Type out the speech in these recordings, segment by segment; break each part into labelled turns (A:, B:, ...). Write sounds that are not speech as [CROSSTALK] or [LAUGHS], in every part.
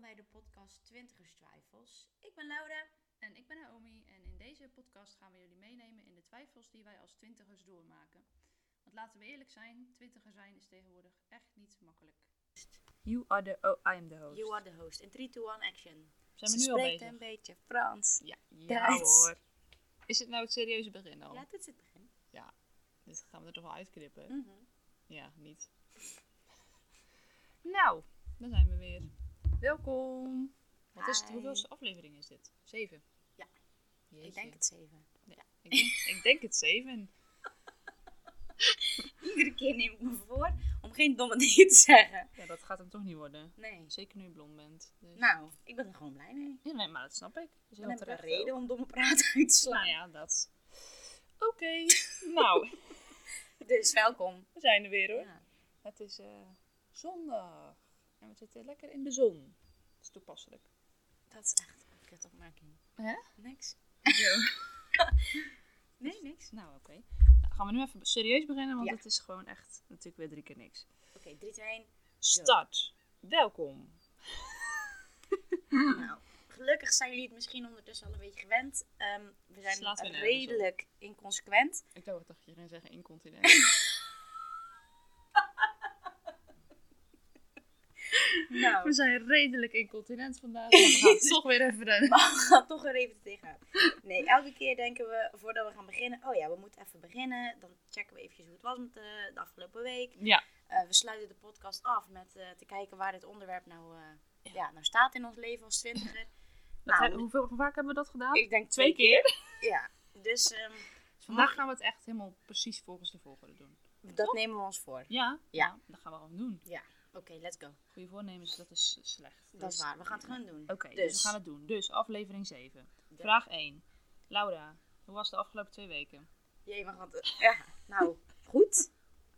A: bij de podcast Twintigerstwijfels. Ik ben Laura.
B: En ik ben Naomi en in deze podcast gaan we jullie meenemen in de twijfels die wij als twintigers doormaken. Want laten we eerlijk zijn, twintiger zijn is tegenwoordig echt niet makkelijk.
C: You are the... Oh, I am the host.
A: You are the host. In 3, 2, 1, action.
C: Zijn
A: Ze
C: we nu al
A: spreekt
C: bezig?
A: een beetje Frans.
C: Ja, ja
A: Tijd.
C: hoor. Is het nou het serieuze begin al?
A: Ja, dit is het begin.
C: Dit gaan we er toch wel uitknippen?
A: Mhm.
C: Ja, niet. [LAUGHS] nou, dan zijn we weer. Welkom. Wat is het?
A: Hi.
C: Hoeveelste aflevering is dit? Zeven?
A: Ja. Ik
C: Jeetje.
A: denk het zeven.
C: Ik denk, ik denk het zeven.
A: Iedere keer neem ik me voor om geen domme [LAUGHS] dingen te zeggen.
C: Ja, dat gaat hem toch niet worden.
A: Nee.
C: Zeker nu je blond bent. Dus.
A: Nou, ik ben er gewoon blij mee.
C: Ja, nee, maar dat snap ik. Dat is heel
A: Dan heb ik een
C: terecht
A: reden om domme praten uit te
C: ook. Nou
A: slaan.
C: ja, dat. Oké. [LAUGHS] nou,
A: Dus welkom.
C: we zijn er weer hoor.
A: Ja.
C: Het is eh, zondag. En we zitten lekker in de zon. Dat is toepasselijk.
A: Dat is echt een kutopmerking.
C: Hè?
A: Niks. [LAUGHS] Nee, niks.
C: Nou, oké. Nou, gaan we nu even serieus beginnen, want
A: Ja.
C: het is gewoon echt natuurlijk weer drie keer niks.
A: Oké, 3, 2, 1.
C: Start. Welkom.
A: Nou, gelukkig zijn jullie het misschien ondertussen al een beetje gewend. Ehm, we zijn
C: Slaat weer nergens op.
A: redelijk [LAUGHS] inconsequent.
C: Ik dacht dat je ging zeggen [LAUGHS] incontinent. we
A: Nou,
C: zijn redelijk incontinent vandaag, maar we gaan
A: [LAUGHS]
C: toch weer even rennen.
A: maar we gaan toch er even tegenaan. Nee, elke keer denken we voordat we gaan beginnen. Oh ja, we moeten even beginnen. Dan checken we eventjes hoe het was met de, de afgelopen week.
C: Ja,
A: Eh, we sluiten de podcast af met eh, te kijken waar dit onderwerp nou, eh, ja. nou staat in ons leven als twintiger.
C: dat
A: Nou,
C: he- hoeveel, hoe vaak hebben we dat gedaan?
A: Ik denk
C: Twee
A: twee keer.
C: keer.
A: Ja, dus ehm,
C: Dus vandaag gaan we het echt helemaal precies volgens de volgorde doen.
A: dat nemen we ons voor.
C: Ja?
A: Ja.
C: Nou, dat gaan we gewoon doen.
A: Oké, let's go.
C: Goede voornemens, dat is slecht.
A: Dat is waar, we gaan het gewoon doen.
C: Oké, dus. we gaan het doen. Dus aflevering 7.
A: Ja.
C: Vraag 1. Laura, hoe was de afgelopen twee weken?
A: Jee, maar wat. Ja, nou, goed.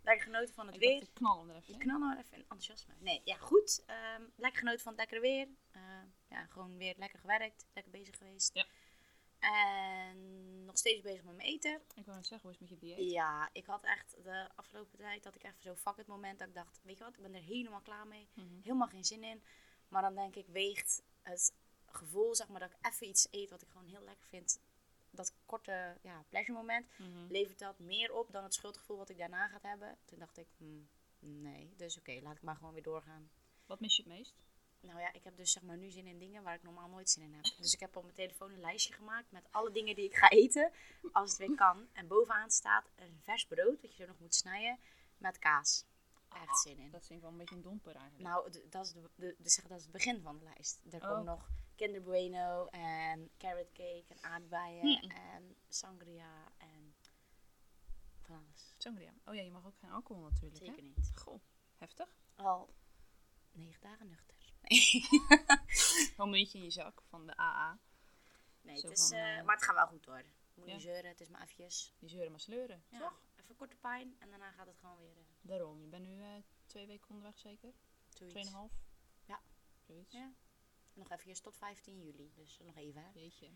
A: Lekker genoten van het
C: ik
A: weer.
C: dacht, ik knal hem er even
A: Je
C: in.
A: knal nou even in enthousiasme. Nee, ja, goed. Ehm, lekker genoten van het lekkere weer. Ehm, ja, gewoon weer lekker gewerkt. Lekker bezig geweest.
C: Ja.
A: En nog steeds bezig met mijn eten.
C: Ik wou net zeggen, hoe is het met je dieet?
A: Ja, ik had echt de afgelopen tijd dat ik echt zo fuck het moment dat ik dacht, weet je wat, ik ben er helemaal klaar mee.
C: Mhm.
A: Helemaal geen zin in. Maar dan denk ik, weegt het gevoel, zeg maar, dat ik even iets eet wat ik gewoon heel lekker vind. Dat korte ja, pleasure moment.
C: Mhm.
A: levert dat meer op dan het schuldgevoel wat ik daarna gaat hebben. Toen dacht ik, hmm, nee, dus oké, laat ik maar gewoon weer doorgaan.
C: Wat mis je het meest?
A: Nou ja, ik heb dus zeg maar nu zin in dingen waar ik normaal nooit zin in heb. Dus ik heb op mijn telefoon een lijstje gemaakt met alle dingen die ik ga eten, als het weer kan. En bovenaan staat een vers brood, dat je zo nog moet snijden, met kaas. Echt zin in.
C: Dat is in ieder geval een beetje een domper eigenlijk.
A: Nou, d- dat is, de, de, de- zeg, dat is het begin van de lijst. Er
C: Oh.
A: komen nog Kinder Bueno en carrot cake en aardbeien
C: Mm-mm.
A: en sangria en van alles.
C: Sangria. Oh ja, je mag ook geen alcohol natuurlijk, hè?
A: Zeker niet.
C: Goh, heftig.
A: al negen dagen nuchter.
C: Gewoon een beetje in je zak van de AA.
A: Nee,
C: Zo
A: het is,
C: van,
A: eh,
C: eh,
A: maar het gaat wel goed hoor. Moet
C: Ja.
A: niet zeuren, het is maar eventjes.
C: Die zeuren maar sleuren,
A: Ja,
C: toch?
A: Even korte pijn en daarna gaat het gewoon weer. eh
C: Daarom, je bent nu eh, twee weken onderweg zeker?
A: zoiets.
C: Tweeënhalf?
A: Ja.
C: Zoiets.
A: Ja. Nog eventjes tot 15 juli, dus nog even. Hè.
C: Jeetje.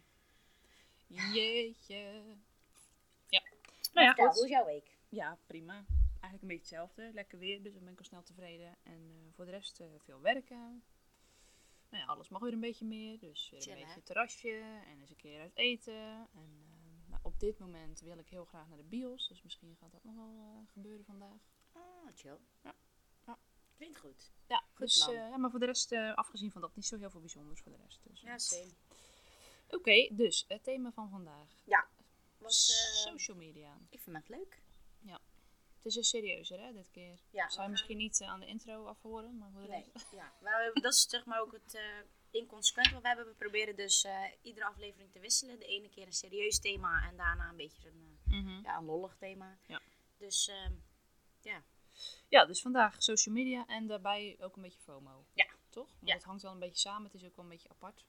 C: Jeetje. Ja. Nou ja,
A: Vertel, hoe
C: goed.
A: is jouw week?
C: Ja, prima. Eigenlijk een beetje hetzelfde. Lekker weer, dus dan ben ik al snel tevreden. En eh, voor de rest eh, veel werken. Nou ja, alles mag weer een beetje meer. Dus weer een
A: Chillen,
C: beetje
A: hè?
C: terrasje en eens een keer uit eten. En eh, nou, op dit moment wil ik heel graag naar de bios. Dus misschien gaat dat nog wel eh, gebeuren vandaag.
A: Oh, chill.
C: Ja. Ja.
A: Klinkt goed.
C: Ja, dus,
A: plan.
C: eh, ja, maar voor de rest, eh, afgezien van dat, niet zo heel veel bijzonders voor de rest. Dus, eh.
A: Ja, same.
C: Oké, dus het thema van vandaag.
A: Was, eh,
C: Social media.
A: ik vind het leuk.
C: Het is een serieuzer hè, dit keer.
A: Ja,
C: Zou
A: we
C: je misschien niet eh, aan de intro afhoren, maar voor de
A: Nee,
C: rest...
A: ja. Maar we hebben- dat is zeg maar ook het eh inconsequent wat we hebben. We proberen dus eh, iedere aflevering te wisselen. De ene keer een serieus thema en daarna een beetje een, eh,
C: Mhm.
A: ja, een lollig thema.
C: Ja.
A: Dus ehm,
C: Ja, dus vandaag social media en daarbij ook een beetje FOMO.
A: Ja.
C: Toch? Want
A: Ja.
C: het hangt wel een beetje samen. Het is ook wel een beetje apart.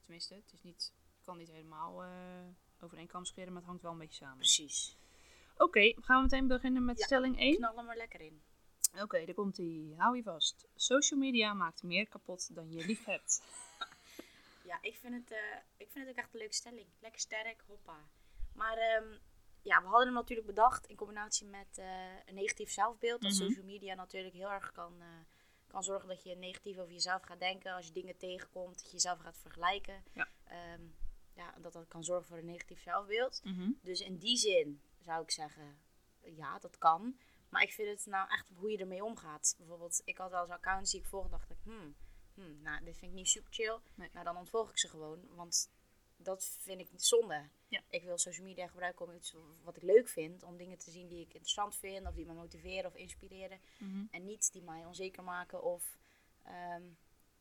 C: Tenminste, het is niet, ik kan niet helemaal eh over één kam scheren, maar het hangt wel een beetje samen.
A: precies.
C: Oké, gaan we meteen beginnen met
A: Ja.
C: stelling 1.
A: Knal hem er lekker in.
C: Oké, daar komt die. Hou je vast. Social media maakt meer kapot dan je lief hebt.
A: [LAUGHS] Ja, ik vind het, eh, ik vind het ook echt een leuke stelling. Lekker sterk, hoppa. Maar ehm, ja, we hadden hem natuurlijk bedacht in combinatie met eh, een negatief zelfbeeld. Dat
C: Mhm.
A: social media natuurlijk heel erg kan, eh, kan zorgen dat je negatief over jezelf gaat denken. Als je dingen tegenkomt, dat je jezelf gaat vergelijken.
C: Ja.
A: Ehm, ja, dat dat kan zorgen voor een negatief zelfbeeld.
C: Mhm.
A: Dus in die zin zou ik zeggen, ja, dat kan. Maar ik vind het nou echt op hoe je ermee omgaat. Bijvoorbeeld, ik had wel eens accounts die ik volgde dacht ik, hmm, hmm, nou, dit vind ik niet super chill.
C: Nee.
A: Nou, dan ontvolg ik ze gewoon, want dat vind ik zonde.
C: Ja.
A: Ik wil social media gebruiken om iets wat ik leuk vind, om dingen te zien die ik interessant vind, of die me motiveren of inspireren.
C: Mhm.
A: En niet die mij onzeker maken of ehm,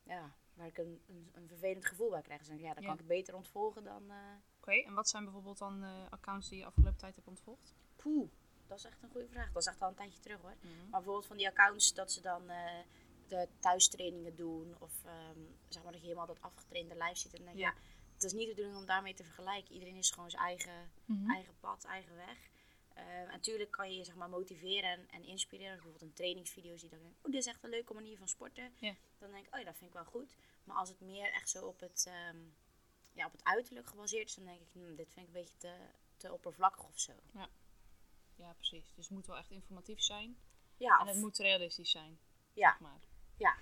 A: ja, waar ik een, een, een vervelend gevoel bij krijg. Dus dan denk ik, ja, dan
C: Ja.
A: kan ik het beter ontvolgen dan... eh,
C: Oké, en wat zijn bijvoorbeeld dan eh, accounts die je afgelopen tijd hebt ontvolgd?
A: Poeh, dat is echt een goede vraag. Dat is echt al een tijdje terug hoor. Maar bijvoorbeeld van die accounts dat ze dan eh, de thuistrainingen doen. Of ehm, zeg maar dat je helemaal dat afgetrainde lijf ziet. En dan denk je,
C: Ja.
A: ja. het is niet de bedoeling om daarmee te vergelijken. Iedereen is gewoon zijn eigen, eigen pad, eigen weg. Eh, en natuurlijk kan je je zeg maar, motiveren en, en inspireren. Als je Bijvoorbeeld een trainingsvideo ziet. Dan denk ik, oh, dit is echt een leuke manier van sporten.
C: Ja.
A: Dan denk ik, oh ja, dat vind ik wel goed. Maar als het meer echt zo op het, ehm, ja, op het uiterlijk gebaseerd is. Dan denk ik, hmm, dit vind ik een beetje te, te oppervlakkig of zo.
C: Ja, precies. Dus het moet wel echt informatief zijn.
A: Ja,
C: En
A: of-
C: het moet realistisch zijn,
A: Ja.
C: zeg maar.
A: Ja.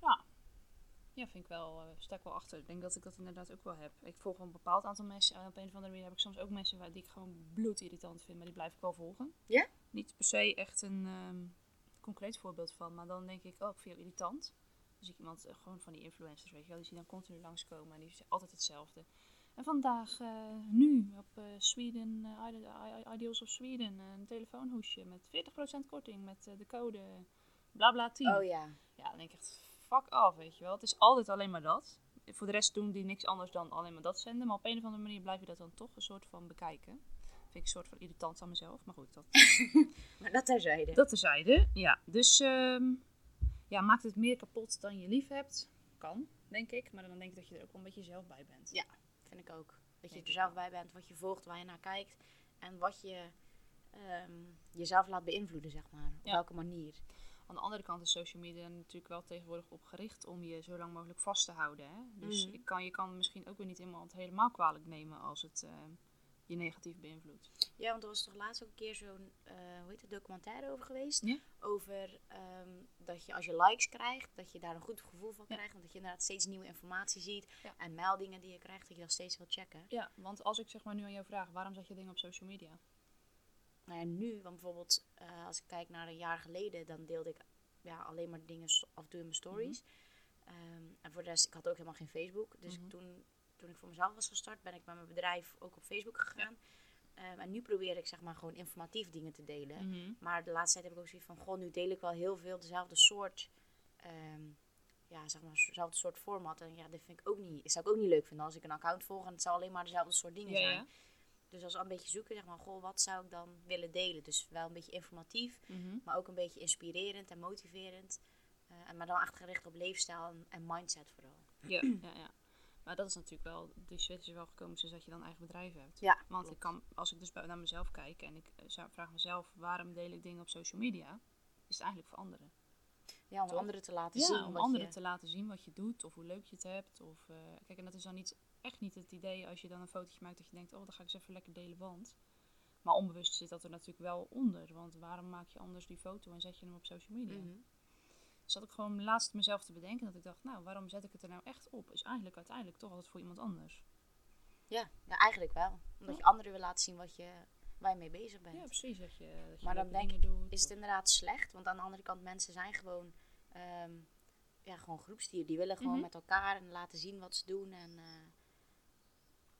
C: Ja. Ja, vind ik wel, eh sta ik wel achter. Ik denk dat ik dat inderdaad ook wel heb. Ik volg wel een bepaald aantal mensen. En op een of andere manier heb ik soms ook mensen waar, die ik gewoon bloedirritant vind. Maar die blijf ik wel volgen.
A: Ja?
C: Niet per se echt een ehm, concreet voorbeeld van. Maar dan denk ik, oh, ik vind jou irritant. Dan zie ik iemand, eh, gewoon van die influencers, weet je wel. Die zie je dan continu langskomen. En die is altijd hetzelfde. En vandaag, eh, nu, op eh, Sweden, eh, Ide- I- I- Ideals of Sweden, eh, een telefoonhoesje met 40% korting met eh, de code blabla 10.
A: Oh ja.
C: Ja, dan denk ik echt, fuck af, weet je wel. Het is altijd alleen maar dat. Voor de rest doen die niks anders dan alleen maar dat zenden. Maar op een of andere manier blijf je dat dan toch een soort van bekijken. Vind ik een soort van irritant aan mezelf. Maar goed, dat,
A: Maar dat terzijde.
C: dat terzijde. Ja, dus ehm, ja, maakt het meer kapot dan je lief hebt. Kan, denk ik. Maar dan denk ik dat je er ook wel een beetje zelf bij bent.
A: Ja. Vind ik ook. Dat je
C: Denk
A: er
C: ik
A: zelf bij bent, wat je volgt, waar je naar kijkt. En wat je ehm, jezelf laat beïnvloeden, zeg maar. Op
C: Ja.
A: welke manier.
C: Aan de andere kant is social media natuurlijk wel tegenwoordig opgericht om je zo lang mogelijk vast te houden. Hè? Dus
A: Mhm.
C: ik kan, je kan misschien ook weer niet iemand helemaal kwalijk nemen als het eh, je negatief beïnvloedt.
A: Ja, want er was toch laatst ook een keer zo'n eh, hoe heet het, documentaire over geweest.
C: Ja.
A: Over ehm, dat je als je likes krijgt, dat je daar een goed gevoel van
C: Ja.
A: krijgt. En dat je inderdaad steeds nieuwe informatie ziet.
C: Ja.
A: En meldingen die je krijgt, dat je dat steeds wil checken.
C: Ja, want als ik zeg maar nu aan jou vraag, waarom zet je dingen op social media?
A: Nou ja, nu, want bijvoorbeeld eh, als ik kijk naar een jaar geleden, dan deelde ik ja, alleen maar dingen s- af en toe in
C: Mhm.
A: mijn stories. Ehm, en voor de rest, ik had ook helemaal geen Facebook. Dus
C: Mhm.
A: ik toen, toen ik voor mezelf was gestart, ben ik met mijn bedrijf ook op Facebook gegaan. Ehm, en nu probeer ik zeg maar gewoon informatief dingen te delen.
C: Mhm.
A: Maar de laatste tijd heb ik ook zoiets van, goh, nu deel ik wel heel veel dezelfde soort, ehm, ja, zeg maar, dezelfde soort format. En ja, dit vind ik ook niet, zou ik ook niet leuk vinden als ik een account volg en het zou alleen maar dezelfde soort dingen
C: Ja,
A: zijn.
C: ja.
A: Dus als een beetje zoeken, zeg maar, goh, wat zou ik dan willen delen? Dus wel een beetje informatief,
C: Mhm.
A: maar ook een beetje inspirerend en motiverend. Eh, en maar dan echt gericht op leefstijl en, en mindset vooral. [CLEARS THROAT]
C: ja, ja, ja. Maar dat is natuurlijk wel, die switch is wel gekomen sinds dat je dan eigen bedrijf hebt.
A: Ja,
C: Want
A: klopt.
C: ik kan, als ik dus bij- naar mezelf kijk en ik eh, zou- vraag mezelf, waarom deel ik dingen op social media? Is het eigenlijk voor anderen?
A: Ja, om
C: Toch?
A: anderen te laten
C: ja,
A: zien.
C: om
A: wat
C: anderen
A: je-
C: te laten zien wat je doet of hoe leuk je het hebt. Of, eh, kijk, en dat is dan niet, echt niet het idee als je dan een fotootje maakt dat je denkt, oh, dat ga ik eens even lekker delen, want... Maar onbewust zit dat er natuurlijk wel onder. Want waarom maak je anders die foto en zet je hem op social media?
A: Mhm.
C: Dus dat ik gewoon laatst mezelf te bedenken dat ik dacht, nou, waarom zet ik het er nou echt op? Is eigenlijk uiteindelijk toch altijd voor iemand anders.
A: ja, ja, eigenlijk wel. Omdat
C: Ja.
A: je anderen wil laten zien wat je, waar je mee bezig bent.
C: Ja, precies. Dat je, dat je
A: Maar dan
C: leuke
A: denk
C: dingen doet.
A: is het
C: of-
A: inderdaad slecht. Want aan de andere kant, mensen zijn gewoon, ehm, ja, gewoon groepsdieren. Die willen gewoon
C: Mhm.
A: met elkaar en laten zien wat ze doen. En, eh,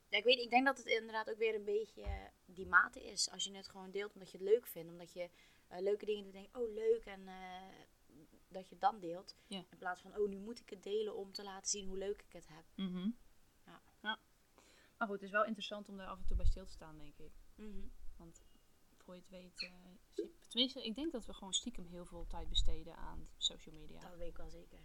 A: ja, ik, weet, ik denk dat het inderdaad ook weer een beetje eh, die mate is. Als je het gewoon deelt omdat je het leuk vindt. Omdat je eh, leuke dingen doet. Denk je, oh leuk. En eh, dat je het dan deelt.
C: Ja.
A: In plaats van, oh nu moet ik het delen om te laten zien hoe leuk ik het heb.
C: Mhm.
A: Ja.
C: ja. Maar goed, het is wel interessant om daar af en toe bij stil te staan, denk ik.
A: Mhm.
C: Want voor je het weet, eh, zit- tenminste, ik denk dat we gewoon stiekem heel veel tijd besteden aan social media.
A: Dat weet ik wel zeker.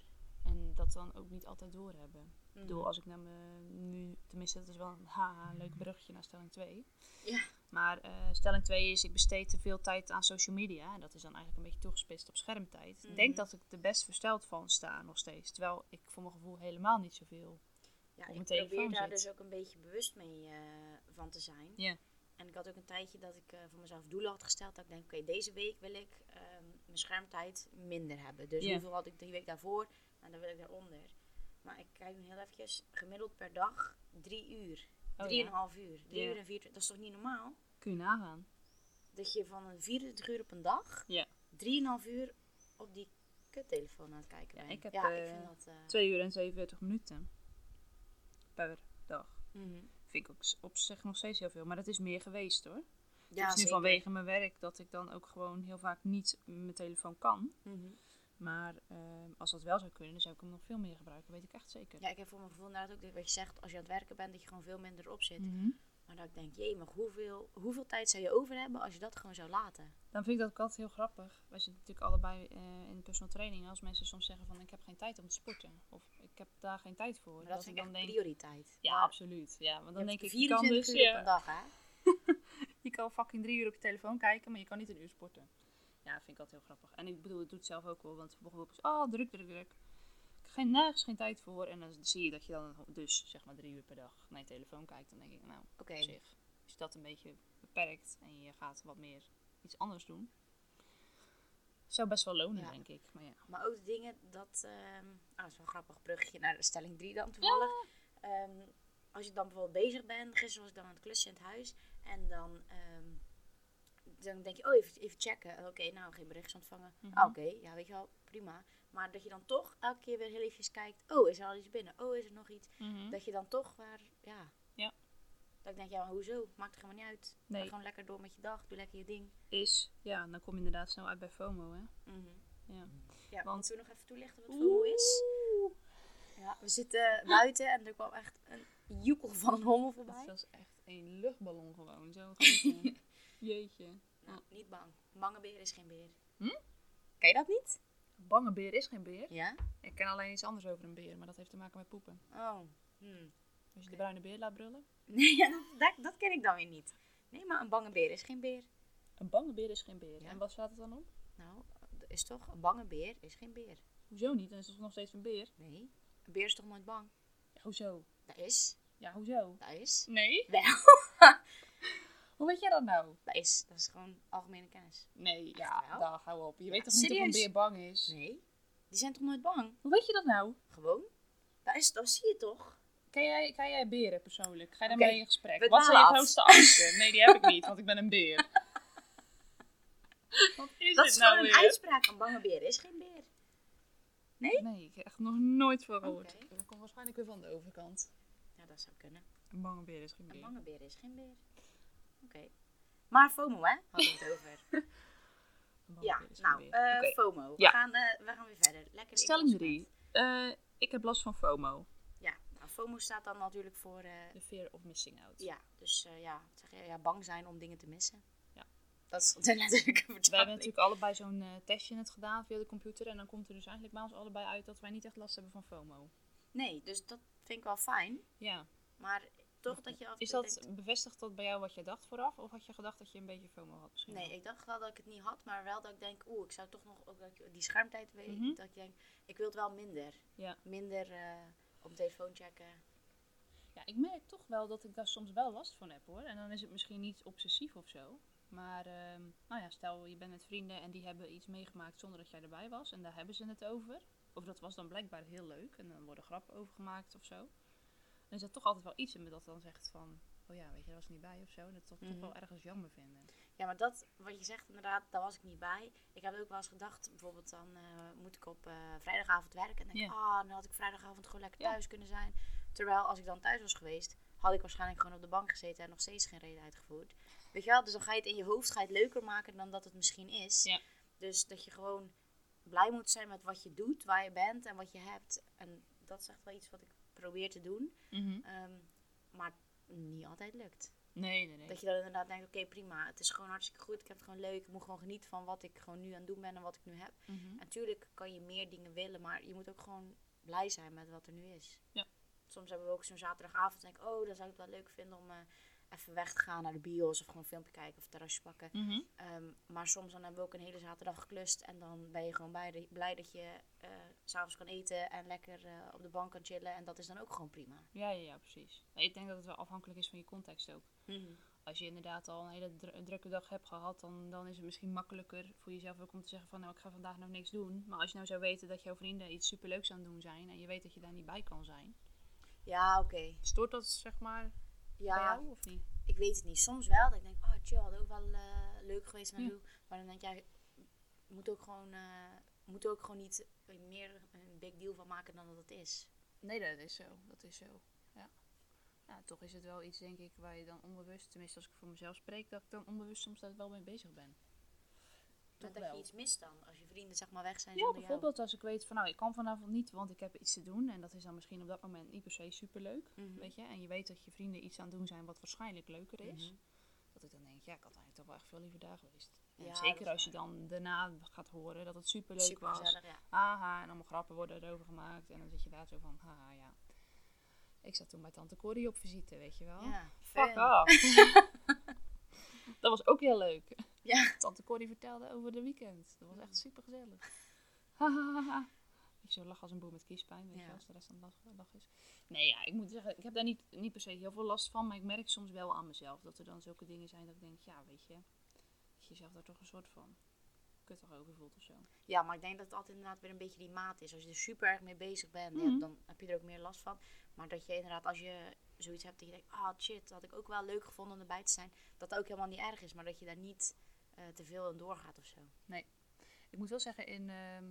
C: En dat dan ook niet altijd doorhebben. Ik
A: Mhm.
C: bedoel, als ik naar me nu, tenminste, dat is wel een haha, leuk bruggetje naar stelling 2.
A: Ja.
C: Maar eh, stelling 2 is, ik besteed te veel tijd aan social media. En dat is dan eigenlijk een beetje toegespitst op schermtijd. Ik denk
A: Mhm.
C: dat ik er best versteld van sta nog steeds. Terwijl ik voor mijn gevoel helemaal niet zoveel
A: Ja,
C: op
A: ik
C: mijn telefoon
A: probeer daar
C: zit.
A: dus ook een beetje bewust mee eh, van te zijn.
C: Ja.
A: En ik had ook een tijdje dat ik eh, voor mezelf doelen had gesteld. Dat ik denk, oké, deze week wil ik ehm, mijn schermtijd minder hebben. Dus
C: Ja.
A: hoeveel had ik die week daarvoor en dan wil ik daaronder. Maar ik kijk nu heel eventjes, gemiddeld per dag drie uur.
C: Oh, ja.
A: Drieënhalf uur. Drie
C: Ja.
A: uur en vier Dat is toch niet normaal?
C: Kun je nagaan.
A: Dat je van een 24 uur op een dag,
C: Ja.
A: drieënhalf uur op die kuttelefoon aan het kijken
C: Ja,
A: bent.
C: ik heb,
A: ja,
C: eh,
A: ik vind dat... eh,
C: 2 uur en 47 minuten. Per dag.
A: mhm.
C: Vind ik ook s- op zich nog steeds heel veel. Maar dat is meer geweest hoor.
A: Ja,
C: het is nu
A: zeker.
C: vanwege mijn werk dat ik dan ook gewoon heel vaak niet mijn telefoon kan.
A: Mhm.
C: Maar ehm, als dat wel zou kunnen, dan zou ik hem nog veel meer gebruiken. Weet ik echt zeker.
A: Ja, ik heb voor mijn gevoel inderdaad ook dit wat je zegt. Als je aan het werken bent, dat je gewoon veel minder op zit.
C: Mhm.
A: Maar dat ik denk, jee, maar hoeveel, hoeveel tijd zou je over hebben als je dat gewoon zou laten?
C: Dan vind ik dat ook altijd heel grappig. Wij zitten natuurlijk allebei eh, in de personal training. Als mensen soms zeggen van ik heb geen tijd om te sporten. Of ik heb daar geen tijd voor.
A: Maar dat, vind ik
C: dan
A: echt
C: denk,
A: prioriteit.
C: ja,
A: Maar
C: absoluut. Ja, want
A: je
C: dan
A: hebt
C: denk ik, je kan
A: 24
C: dus...
A: uur op
C: ja,
A: een dag, hè?
C: je kan fucking drie uur op je telefoon kijken, maar je kan niet een uur sporten. Ja, dat vind ik altijd heel grappig. En ik bedoel, het doet het zelf ook wel, want bijvoorbeeld is, oh, druk, druk, druk. Ik heb geen, nergens geen tijd voor. En dan zie je dat je dan dus, zeg maar, drie uur per dag naar je telefoon kijkt. Dan denk ik, nou,
A: Oké.
C: op zich is dat een beetje beperkt en je gaat wat meer iets anders doen. Zou best wel lonen,
A: Ja.
C: denk ik. Maar ja.
A: Maar ook de dingen dat... ehm ah, dat is wel een grappig brugje naar de stelling 3 dan toevallig. Ehm, als je dan bijvoorbeeld bezig bent. Gisteren was ik dan aan het klussen in het huis. En dan, ehm, dan denk je, oh, even, even checken. Oké, nou, geen berichts ontvangen.
C: Mhm.
A: Ah, Oké, ja, weet je wel, prima. Maar dat je dan toch elke keer weer heel even kijkt. Oh, is er al iets binnen? Oh, is er nog iets? Dat je dan toch waar, ja.
C: Mhm. Ja.
A: Dat ik denk, ja, maar hoezo? Maakt het helemaal niet uit. Ga
C: Nee.
A: gewoon lekker door met je dag. Doe lekker je ding.
C: Is, ja, dan kom je inderdaad snel uit bij FOMO, hè. Ja.
A: Mhm. Ja,
C: Want-
A: want we nog even toelichten wat FOMO is. Ja, we zitten buiten en er kwam echt een joekel van een hommel voorbij.
C: Dat was echt een luchtballon gewoon, zo eh, groot,
A: [LAUGHS]
C: hè. Jeetje.
A: Nou, niet bang. Bange beer is geen beer.
C: Hm?
A: Ken je dat niet?
C: Bange beer is geen beer.
A: Ja.
C: Ik ken alleen iets anders over een beer, maar dat heeft te maken met poepen.
A: Oh. Hm.
C: Als je de bruine beer laat brullen.
A: [LAUGHS] Nee, ja, dat, dat, dat ken ik dan weer niet. Nee, maar een bange beer is geen beer.
C: Een bange beer is geen beer.
A: Ja.
C: En wat staat het dan op?
A: Nou, dat is toch? Een bange beer is geen beer.
C: Hoezo niet? Dan is het nog steeds een beer.
A: Nee. Een beer is toch nooit bang?
C: Ja, hoezo?
A: Dat is.
C: Ja, hoezo?
A: Dat is.
C: Nee?
A: Wel.
C: [LAUGHS] Hoe weet jij dat nou?
A: Dat is. Dat is gewoon algemene kennis.
C: Nee,
A: Echt
C: ja,
A: wel?
C: daar hou op. Je weet toch niet of
A: serieus?
C: een beer bang is?
A: Nee. Die zijn toch nooit bang?
C: Hoe weet je dat nou?
A: Gewoon. Dat, is, dat zie je toch?
C: Ken jij, ken jij beren persoonlijk? Ga je
A: Oké,
C: daarmee in gesprek?
A: we
C: Wat zijn je
A: dwalen af.
C: grootste angsten? Nee, die heb ik niet, want ik ben een
A: [LAUGHS]
C: beer. Wat is
A: Dat
C: dit
A: is
C: nou
A: gewoon een
C: weer?
A: uitspraak. Een bange beer is geen beer.
C: Nee, ik heb echt nog nooit van gehoord.
A: Oké.
C: Dat komt waarschijnlijk weer van de overkant.
A: Ja, dat zou kunnen.
C: Een bange beer is geen
A: Een
C: beer.
A: bange beer is geen beer. Oké. Maar FOMO, hè? Hadden we het over.
C: Een bange
A: ja,
C: beer is geen
A: nou,
C: beer.
A: eh,
C: Oké.
A: FOMO.
C: Ja.
A: We, gaan, eh, we gaan weer verder. Lekker
C: Stelling
A: in ons
C: 3.
A: bed.
C: ik heb last van FOMO.
A: Ja, nou, FOMO staat dan natuurlijk voor... eh,
C: The fear of missing out.
A: ja, dus eh, ja, wat zeg je, ja, bang zijn om dingen te missen.
C: Ja.
A: Dat is [LAUGHS] natuurlijk een
C: We hebben
A: vertaling.
C: natuurlijk allebei zo'n eh, testje net gedaan via de computer. En dan komt er dus eigenlijk bij ons allebei uit dat wij niet echt last hebben van FOMO.
A: Nee, dus dat vind ik wel fijn.
C: Ja.
A: Maar toch dat je af en
C: Is
A: toe
C: dat,
A: denkt-
C: bevestigt dat bij jou wat je dacht vooraf? Of had je gedacht dat je een beetje FOMO had? misschien
A: Nee,
C: wel?
A: ik dacht wel dat ik het niet had, maar wel dat ik denk, oeh, ik zou toch nog ook dat ik die schermtijd weet.
C: Mhm.
A: Dat ik denk, ik wil het wel minder.
C: Ja.
A: Minder eh, op telefoon checken.
C: Ja, ik merk toch wel dat ik daar soms wel last van heb hoor. En dan is het misschien niet obsessief of zo. Maar ehm, nou ja, stel je bent met vrienden en die hebben iets meegemaakt zonder dat jij erbij was. En daar hebben ze het over. Of dat was dan blijkbaar heel leuk. En dan worden grappen over gemaakt of zo. Dan is dat toch altijd wel iets in me dat dan zegt van... Oh ja, weet je, daar was ik niet bij of zo. En dat toch, toch
A: Mhm.
C: wel ergens jammer vinden.
A: Ja, maar dat wat je zegt inderdaad, daar was ik niet bij. Ik heb ook wel eens gedacht, bijvoorbeeld dan eh, moet ik op eh, vrijdagavond werken. En denk ik, ah,
C: Ja.
A: dan had ik vrijdagavond gewoon lekker
C: Ja.
A: thuis kunnen zijn. Terwijl als ik dan thuis was geweest, had ik waarschijnlijk gewoon op de bank gezeten en nog steeds geen reden uitgevoerd. Weet je wel, dus dan ga je het in je hoofd ga je het leuker maken dan dat het misschien is.
C: Ja.
A: Dus dat je gewoon blij moet zijn met wat je doet, waar je bent en wat je hebt. En dat is echt wel iets wat ik probeer te doen.
C: Mhm.
A: Ehm, maar niet altijd lukt.
C: Nee, nee, nee.
A: Dat je dan inderdaad denkt, oké prima, het is gewoon hartstikke goed, ik heb het gewoon leuk, ik moet gewoon genieten van wat ik gewoon nu aan het doen ben en wat ik nu heb.
C: Mhm.
A: Natuurlijk kan je meer dingen willen, maar je moet ook gewoon blij zijn met wat er nu is.
C: Ja.
A: Soms hebben we ook zo'n zaterdagavond en denk ik, oh dan zou ik het wel leuk vinden om eh, even weg te gaan naar de bios of gewoon een filmpje kijken of een terrasje pakken.
C: Mhm.
A: Ehm, maar soms dan hebben we ook een hele zaterdag geklust en dan ben je gewoon bij de- blij dat je eh, s'avonds kan eten en lekker eh, op de bank kan chillen. En dat is dan ook gewoon prima.
C: Ja, ja, ja, precies. Maar ik denk dat het wel afhankelijk is van je context ook. Als je inderdaad al een hele dru- drukke dag hebt gehad, dan, dan is het misschien makkelijker voor jezelf ook om te zeggen van nou, ik ga vandaag nog niks doen. Maar als je nou zou weten dat jouw vrienden iets superleuks aan het doen zijn en je weet dat je daar niet bij kan zijn.
A: Ja, oké.
C: Stoort dat zeg maar bij
A: Ja,
C: jou of niet?
A: ik weet het niet. Soms wel. Dat ik denk, oh chill, had ook wel eh, leuk geweest. Maar,
C: Ja.
A: doe. maar dan denk jij, moet ook gewoon, eh, moet ook gewoon niet eh, meer een big deal van maken dan dat het is.
C: Nee, dat is zo. Dat is zo. Ja. Nou, toch is het wel iets, denk ik, waar je dan onbewust, tenminste als ik voor mezelf spreek, dat ik dan onbewust soms daar wel mee bezig ben.
A: Maar
C: Toch
A: dat
C: wel.
A: je iets mist dan, als je vrienden zeg maar weg zijn
C: Ja,
A: zonder jou.
C: bijvoorbeeld als ik weet van nou, ik kan vanavond niet, want ik heb iets te doen. En dat is dan misschien op dat moment niet per se superleuk.
A: Mhm.
C: Weet je? En je weet dat je vrienden iets aan het doen zijn wat waarschijnlijk leuker is.
A: Mhm.
C: Dat ik dan denk, ja, ik had eigenlijk toch wel echt veel liever daar geweest. En
A: Ja, dat
C: zeker
A: is
C: als je dan daarna gaat horen dat het superleuk was.
A: Supergezellig, ja.
C: Haha, en allemaal grappen worden erover gemaakt. En dan zit je daar zo van, haha, ja. Ik zat toen bij tante Corrie op visite, weet je wel.
A: ja.
C: Fuck
A: fun.
C: off.
A: [LAUGHS]
C: dat was ook heel leuk.
A: Ja.
C: Tante Corrie vertelde over de weekend. Dat was echt super [LAUGHS] gezellig. ik zo lach als een boer met kiespijn, weet
A: Ja.
C: je, als de rest aan het lachen, lachen is. Nee, ja, ik moet zeggen, ik heb daar niet, niet per se heel veel last van, maar ik merk soms wel aan mezelf dat er dan zulke dingen zijn dat ik denk, ja, weet je, dat je jezelf daar toch een soort van kuttig over voelt of zo.
A: Ja, maar ik denk dat het altijd inderdaad weer een beetje die maat is. Als je er super erg mee bezig bent, ja,
C: Mhm.
A: dan heb je er ook meer last van. Maar dat je inderdaad, als je zoiets hebt dat je denkt, ah shit, dat had ik ook wel leuk gevonden om erbij te zijn. Dat dat ook helemaal niet erg is, maar dat je daar niet eh, te veel aan doorgaat of zo.
C: Ik moet wel zeggen in, ehm,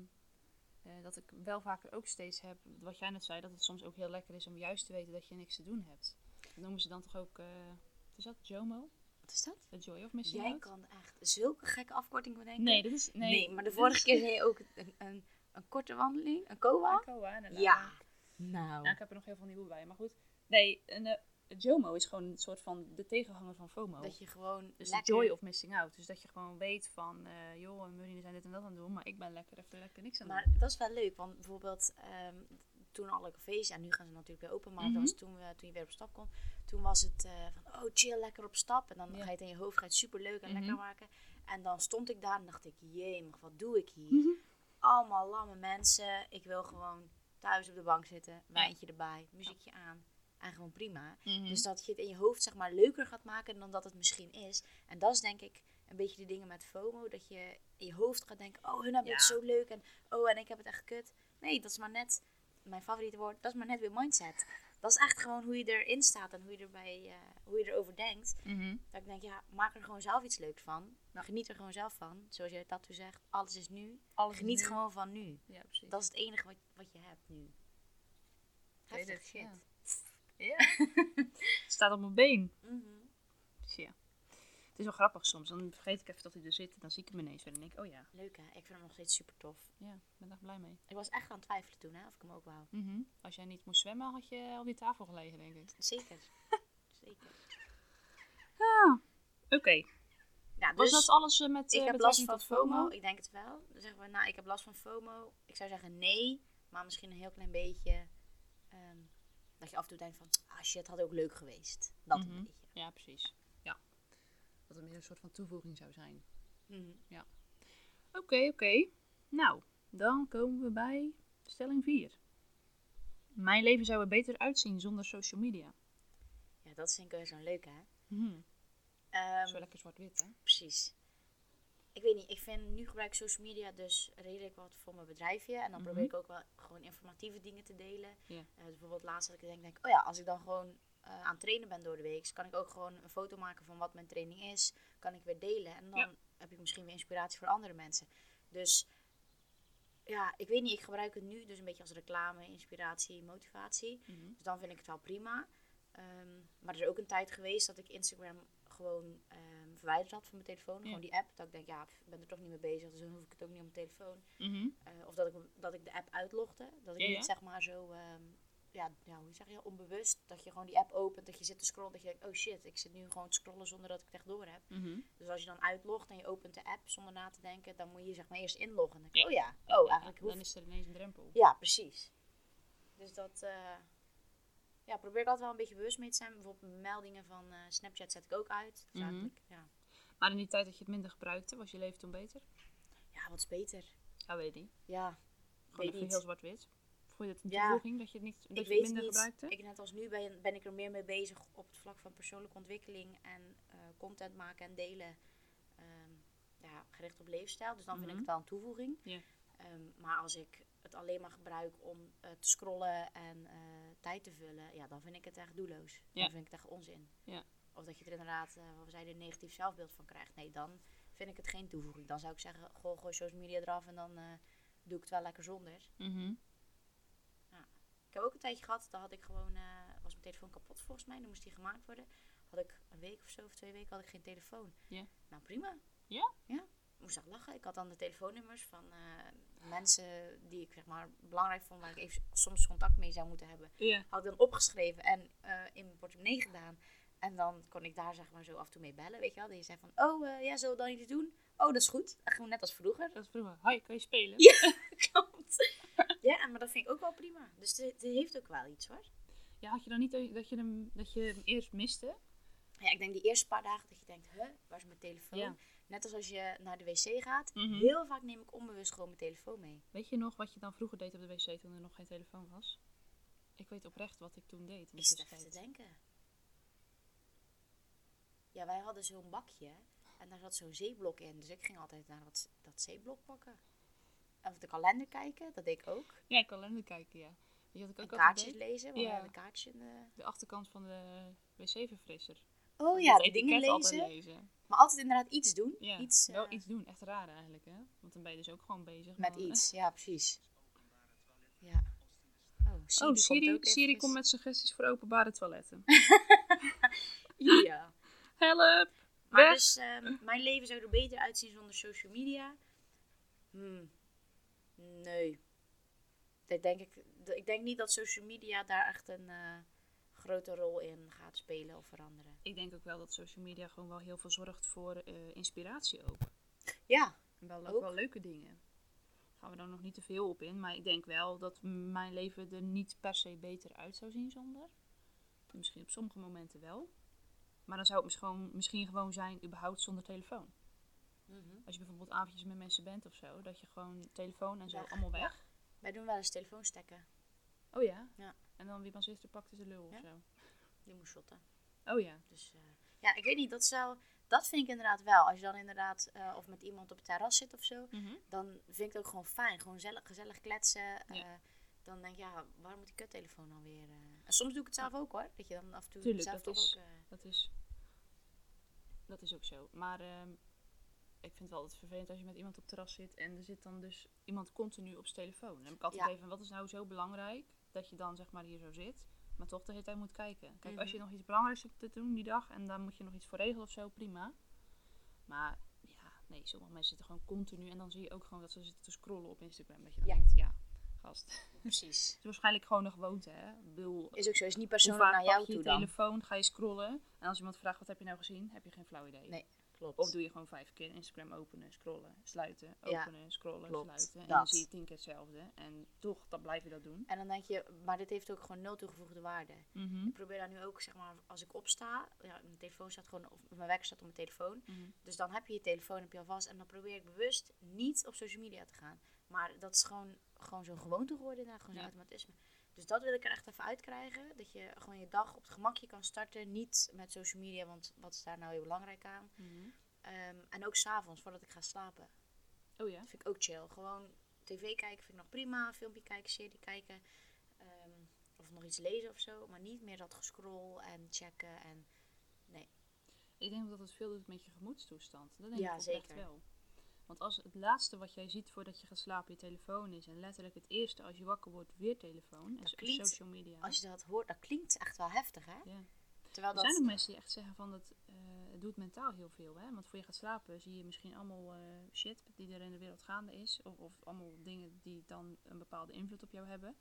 C: eh, dat ik wel vaker ook steeds heb, wat jij net zei, dat het soms ook heel lekker is om juist te weten dat je niks te doen hebt. Dat noemen ze dan toch ook, eh, wat is dat JOMO?
A: Wat is dat?
C: The Joy of Missing
A: Jij
C: Out?
A: kan echt zulke gekke afkortingen bedenken.
C: Dus Nee, dat is... Nee,
A: nee, maar de vorige keer zei je ook een, een, een korte wandeling, een koa. Ja.
C: Nou, ik heb er nog heel veel nieuwe bij, maar goed. Nee, een, eh, JOMO is gewoon een soort van de tegenhanger van FOMO.
A: Dat je gewoon
C: dus de
A: lekker...
C: joy of missing out. Dus dat je gewoon weet van, eh, joh, Marine zijn dit en dat aan het doen, maar ik ben lekker even lekker niks aan het
A: Maar
C: doen.
A: dat is wel leuk, want bijvoorbeeld ehm, toen alle cafés, en nu gaan ze natuurlijk weer open, maar
C: Mhm.
A: dat was toen, we, toen je weer op stap kon, toen was het eh, van, oh chill, lekker op stap. En dan
C: Ja.
A: ga je het in je hoofd, ga je het superleuk en
C: Mhm.
A: lekker maken. En dan stond ik daar en dacht ik, jemig, wat doe ik hier?
C: Mhm.
A: Allemaal lamme mensen, ik wil gewoon thuis op de bank zitten, wijntje erbij, muziekje aan. En gewoon prima.
C: Mhm.
A: Dus dat je het in je hoofd zeg maar leuker gaat maken dan dat het misschien is. En dat is denk ik een beetje de dingen met FOMO. Dat je in je hoofd gaat denken, oh hun hebben het
C: Ja.
A: zo leuk en oh en ik heb het echt kut. Nee, dat is maar net, mijn favoriete woord, dat is maar net weer mindset. Dat is echt gewoon hoe je erin staat en hoe je, erbij, eh, hoe je erover denkt.
C: Mhm.
A: Dat ik denk, ja, maak er gewoon zelf iets leuks van. Nou,
C: Ja.
A: Geniet er gewoon zelf van. Zoals jij dat toen zegt, alles is nu.
C: Alles
A: Geniet
C: nu.
A: gewoon van nu.
C: Mhm. Ja, precies.
A: Dat is het enige wat, wat je hebt nu.
C: weet
A: Heftig
C: het,
A: shit.
C: ja. [LAUGHS] Staat op mijn been.
A: Mhm.
C: Dus ja. Het is wel grappig soms. Dan vergeet ik even dat hij er zit. En dan zie ik hem ineens weer. En denk ik, oh ja.
A: Leuk hè, ik vind hem nog steeds super tof.
C: Ja, ik ben daar blij mee.
A: Ik was echt aan het twijfelen toen, hè, of ik hem ook wou.
C: Als jij niet moest zwemmen, had je op die tafel gelegen, denk ik.
A: Zeker. [LAUGHS] Zeker.
C: Oké.
A: Ja,
C: Was
A: dus
C: dat alles eh, met eh,
A: ik heb last
C: betrekking
A: van
C: tot
A: FOMO. Ik denk het wel. Dan zeggen we, nou, ik heb last van FOMO. Ik zou zeggen nee, maar misschien een heel klein beetje. ehm, dat je af en toe denkt van, ah shit, had ook leuk geweest. Dat
C: Mhm.
A: een beetje.
C: Ja, precies. Ja. Dat het meer een soort van toevoeging zou zijn.
A: Mhm.
C: Oké, oké. Nou, dan komen we bij stelling 4. Mijn leven zou er beter uitzien zonder social media.
A: Ja, dat vind ik wel zo'n leuke, hè.
C: Mhm.
A: Ehm,
C: Zo lekker zwart-wit, hè?
A: precies. Ik weet niet, ik vind nu gebruik ik social media dus redelijk wat voor mijn bedrijfje. En dan probeer
C: Mhm.
A: ik ook wel gewoon informatieve dingen te delen.
C: Ja.
A: Eh, bijvoorbeeld laatst dat ik denk, denk, oh ja, als ik dan gewoon eh, aan het trainen ben door de week, kan ik ook gewoon een foto maken van wat mijn training is. Kan ik weer delen. En dan
C: Ja.
A: heb ik misschien weer inspiratie voor andere mensen. Dus ja, ik weet niet, ik gebruik het nu dus een beetje als reclame, inspiratie, motivatie.
C: Mhm.
A: Dus dan vind ik het wel prima. Ehm, maar er is ook een tijd geweest dat ik Instagram gewoon ehm, verwijderd had van mijn telefoon. Gewoon die app. Dat ik denk, ja, pff, ik ben er toch niet mee bezig. Dus dan hoef ik het ook niet op mijn telefoon.
C: Mhm.
A: Eh, of dat ik, dat ik de app uitlogde. Dat ik
C: Ja, ja.
A: niet zeg maar zo, ehm, ja, ja, hoe zeg je, onbewust. Dat je gewoon die app opent, dat je zit te scrollen. Dat je denkt, oh shit, ik zit nu gewoon te scrollen zonder dat ik het echt door heb.
C: Mhm.
A: Dus als je dan uitlogt en je opent de app zonder na te denken. Dan moet je je, zeg maar eerst inloggen. Dan denk je,
C: Ja.
A: oh ja, oh eigenlijk
C: Dan
A: hoeft
C: is er ineens een drempel.
A: ja, precies. Dus dat eh, ja, probeer ik altijd wel een beetje bewust mee te zijn. Bijvoorbeeld meldingen van eh, Snapchat zet ik ook uit. Dus
C: Mhm.
A: eigenlijk, ja.
C: Maar in die tijd dat je het minder gebruikte, was je leven toen beter?
A: ja, wat is beter?
C: Ja, weet ik niet.
A: Ja,
C: Gewoon even
A: niet.
C: heel zwart-wit. Vond je het een
A: Ja.
C: toevoeging dat je het, niet, dat
A: ik
C: je het
A: weet
C: minder
A: niet.
C: gebruikte?
A: Ik, net als nu ben, ben ik er meer mee bezig op het vlak van persoonlijke ontwikkeling en eh, content maken en delen. ehm, ja, gericht op leefstijl. Dus dan vind
C: Mhm.
A: ik het wel een toevoeging.
C: Ja.
A: Ehm, maar als ik het alleen maar gebruik om eh, te scrollen en eh, tijd te vullen, ja, dan vind ik het echt doelloos.
C: Ja.
A: Dan vind ik het echt onzin.
C: Ja.
A: Of dat je er inderdaad, eh, wat we zeiden, een negatief zelfbeeld van krijgt. Nee, dan vind ik het geen toevoeging. Dan zou ik zeggen, goh, gooi social media eraf en dan eh, doe ik het wel lekker zonder.
C: Mhm.
A: Ik heb ook een tijdje gehad, dan had ik gewoon, eh, was mijn telefoon kapot volgens mij, dan moest die gemaakt worden. Had ik een week of zo of twee weken had ik geen telefoon.
C: Ja.
A: Nou prima.
C: Ja?
A: Ja. Ik moest echt lachen. Ik had dan de telefoonnummers van eh, mensen die ik zeg maar belangrijk vond, waar ik even soms contact mee zou moeten hebben.
C: Ja.
A: Had ik dan opgeschreven en eh, in mijn portemonnee gedaan. En dan kon ik daar zeg maar zo af en toe mee bellen, weet je wel. Die zei van, oh eh, ja, zullen we dan iets doen? Oh, dat is goed. En gewoon net als vroeger. [LAUGHS]
C: Dat is vroeger. Hi, kan je spelen?
A: Ja. Klopt. ja, maar dat vind ik ook wel prima. Dus het het heeft ook wel iets hoor.
C: Ja, had je dan niet eh, dat je hem, dat je hem eerst miste?
A: Ja, ik denk die eerste paar dagen dat je denkt, huh, waar is mijn telefoon?
C: Ja.
A: Net als als je naar de wc gaat.
C: Mhm.
A: Heel vaak neem ik onbewust gewoon mijn telefoon mee.
C: Weet je nog wat je dan vroeger deed op de wc toen er nog geen telefoon was? Ik weet oprecht wat ik toen deed. om
A: Ik
C: te
A: zit even te
C: spelen.
A: denken. Ja, wij hadden zo'n bakje en daar zat zo'n zeeblok in. Dus ik ging altijd naar dat, dat zeeblok pakken. En op de kalender kijken, dat deed ik ook.
C: Ja, kalender kijken, ja. Weet je wat ik
A: En
C: ook altijd
A: kaartjes
C: deed?
A: lezen, want
C: Ja.
A: we hadden een kaartje in de...
C: De achterkant van de wc-verfrisser.
A: Oh
C: Dat
A: ja,
C: etiket
A: dingen
C: altijd
A: lezen.
C: lezen.
A: Maar altijd inderdaad iets doen.
C: Ja,
A: Iets,
C: wel
A: eh,
C: iets doen. Echt raar eigenlijk, hè? Want dan ben je dus ook gewoon bezig.
A: met
C: maar-
A: iets. Ja, precies. Ja. Oh, Siri,
C: Oh, Siri,
A: komt ook
C: Siri
A: eventjes.
C: komt met suggesties voor openbare
A: [LAUGHS]
C: toiletten.
A: Ja.
C: Help!
A: Maar
C: Weg!
A: dus, ehm, mijn leven zou er beter uitzien zonder social media? Hmm. Nee. Dat denk ik, d- ik denk niet dat social media daar echt een eh, grote rol in gaat spelen of veranderen.
C: Ik denk ook wel dat social media gewoon wel heel veel zorgt voor eh, inspiratie ook.
A: Ja.
C: En wel,
A: Ook.
C: ook wel leuke dingen. Gaan we daar nog niet te veel op in. Maar ik denk wel dat m- mijn leven er niet per se beter uit zou zien zonder. Misschien op sommige momenten wel. Maar dan zou het misschien gewoon, misschien gewoon zijn, überhaupt zonder telefoon.
A: Mhm.
C: Als je bijvoorbeeld avondjes met mensen bent of zo, dat je gewoon telefoon en zo
A: Weg,
C: allemaal weg.
A: Wij doen wel eens telefoonstekken.
C: Oh ja?
A: Ja.
C: En dan wie van zuster pakte de lul
A: Ja.
C: of zo.
A: Die moest shotten.
C: Oh ja.
A: Dus eh, ja, ik weet niet, dat zou... Dat vind ik inderdaad wel. Als je dan inderdaad eh, of met iemand op het terras zit of zo, dan vind ik het ook gewoon fijn. Gewoon zellig, gezellig kletsen. eh, dan denk ik, ja, waarom moet die kuttelefoon dan weer... eh? En soms doe ik het zelf ook hoor. Dat je dan af en toe
C: Tuurlijk,
A: zelf
C: dat
A: toch
C: is-
A: ook... eh,
C: Dat is, dat is ook zo. Maar ehm, ik vind het wel altijd vervelend als je met iemand op het terras zit en er zit dan dus iemand continu op zijn telefoon. Dan heb ik altijd
A: Ja.
C: even van, wat is nou zo belangrijk dat je dan zeg maar hier zo zit, maar toch de hele tijd moet kijken. Kijk, als
A: Mhm.
C: je nog iets belangrijks hebt te doen die dag en daar moet je nog iets voor regelen of zo, prima. Maar ja, nee, sommige mensen zitten gewoon continu en dan zie je ook gewoon dat ze zitten te scrollen op Instagram. Dat je dan
A: Ja.
C: denkt, ja, gast. Het
A: Precies.
C: is waarschijnlijk gewoon een gewoonte, hè. Ik bedoel,
A: Is ook zo, is niet
C: hoe
A: persoonlijk
C: vaak
A: naar
C: pak
A: jou
C: je je
A: toe dan.
C: telefoon, ga je scrollen. En als iemand vraagt, wat heb je nou gezien? Heb je geen flauw idee.
A: Nee, klopt.
C: Of doe je gewoon vijf keer Instagram openen, scrollen, sluiten,
A: Ja,
C: openen, scrollen,
A: klopt,
C: sluiten. En
A: dat.
C: dan zie je tien keer hetzelfde. En toch, dan blijf je dat doen.
A: En dan denk je, maar dit heeft ook gewoon nul toegevoegde waarde.
C: Mhm.
A: Ik probeer daar nu ook, zeg maar, als ik opsta, ja, mijn telefoon staat gewoon, of mijn werk staat op mijn telefoon.
C: Mhm.
A: Dus dan heb je je telefoon heb je al vast en dan probeer ik bewust niet op social media te gaan. Maar dat is gewoon, gewoon zo'n gewoonte geworden, inderdaad, gewoon zo'n
C: Ja.
A: automatisme. Dus dat wil ik er echt even uitkrijgen. Dat je gewoon je dag op het gemakje kan starten. Niet met social media, want wat is daar nou heel belangrijk aan?
C: Mhm.
A: Ehm, en ook s'avonds, voordat ik ga slapen.
C: Oh ja.
A: Dat vind ik ook chill. Gewoon tv kijken vind ik nog prima. Filmpje kijken, serie kijken. ehm, of nog iets lezen of zo. Maar niet meer dat gescroll en checken. En
C: Ik denk dat het veel doet met je gemoedstoestand. Dat denk
A: Ja,
C: ik oprecht
A: zeker.
C: wel. Want als het laatste wat jij ziet voordat je gaat slapen je telefoon is. En letterlijk het eerste als je wakker wordt weer telefoon. En
A: Dat
C: so-
A: klinkt
C: social media.
A: als je dat hoort, dat klinkt echt wel heftig, hè?
C: Ja.
A: Terwijl
C: Er zijn
A: dat...
C: ook mensen die echt zeggen van dat eh, het doet mentaal heel veel. Hè? Want voor je gaat slapen zie je misschien allemaal eh, shit die er in de wereld gaande is. Of, of allemaal dingen die dan een bepaalde invloed op jou hebben.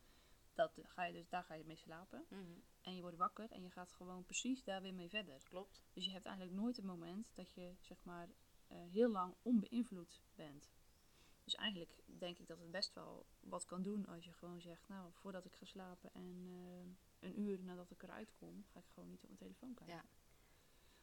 C: Dat ga je dus, daar ga je mee slapen.
A: Mhm,
C: En je wordt wakker en je gaat gewoon precies daar weer mee verder.
A: klopt.
C: Dus je hebt eigenlijk nooit het moment dat je zeg maar eh, heel lang onbeïnvloed bent. Dus eigenlijk denk ik dat het best wel wat kan doen als je gewoon zegt, nou voordat ik ga slapen en eh, een uur nadat ik eruit kom, ga ik gewoon niet op mijn telefoon kijken.
A: Ja.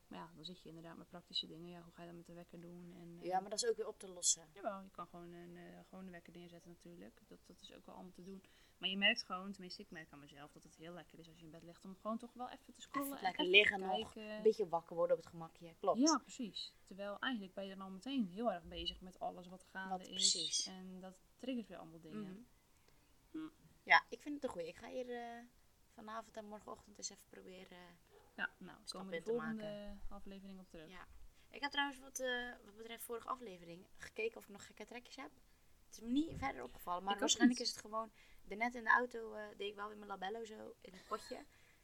C: Maar ja, dan zit je inderdaad met praktische dingen. Ja, hoe ga je dat met de wekker doen? En, eh,
A: Ja, maar dat is ook weer op te lossen.
C: Jawel, je kan gewoon een eh, gewoon de wekker neerzetten natuurlijk. Dat, dat is ook wel allemaal te doen. Maar je merkt gewoon, tenminste ik merk aan mezelf, dat het heel lekker is als je in bed ligt om gewoon toch wel even te scrollen.
A: Oh, Even
C: en
A: lekker liggen
C: te
A: nog.
C: kijken.
A: Een beetje wakker worden op het gemakje, klopt.
C: Ja, precies. Terwijl eigenlijk ben je dan al meteen heel erg bezig met alles wat gaande
A: Wat
C: is.
A: precies.
C: En dat triggert weer allemaal dingen.
A: Mhm. Ja, ik vind het een goeie. Ik ga hier eh, vanavond en morgenochtend eens even proberen.
C: Ja, nou, we
A: Stap
C: komen in
A: in
C: de
A: te
C: volgende aflevering op terug.
A: Ja. Ik heb trouwens wat, eh, wat betreft vorige aflevering gekeken of ik nog gekke trekjes heb. Het is me niet verder opgevallen,
C: Ik
A: maar
C: ook
A: waarschijnlijk
C: niet.
A: is het gewoon... Daarnet in de auto eh, deed ik wel weer mijn labello zo in een potje.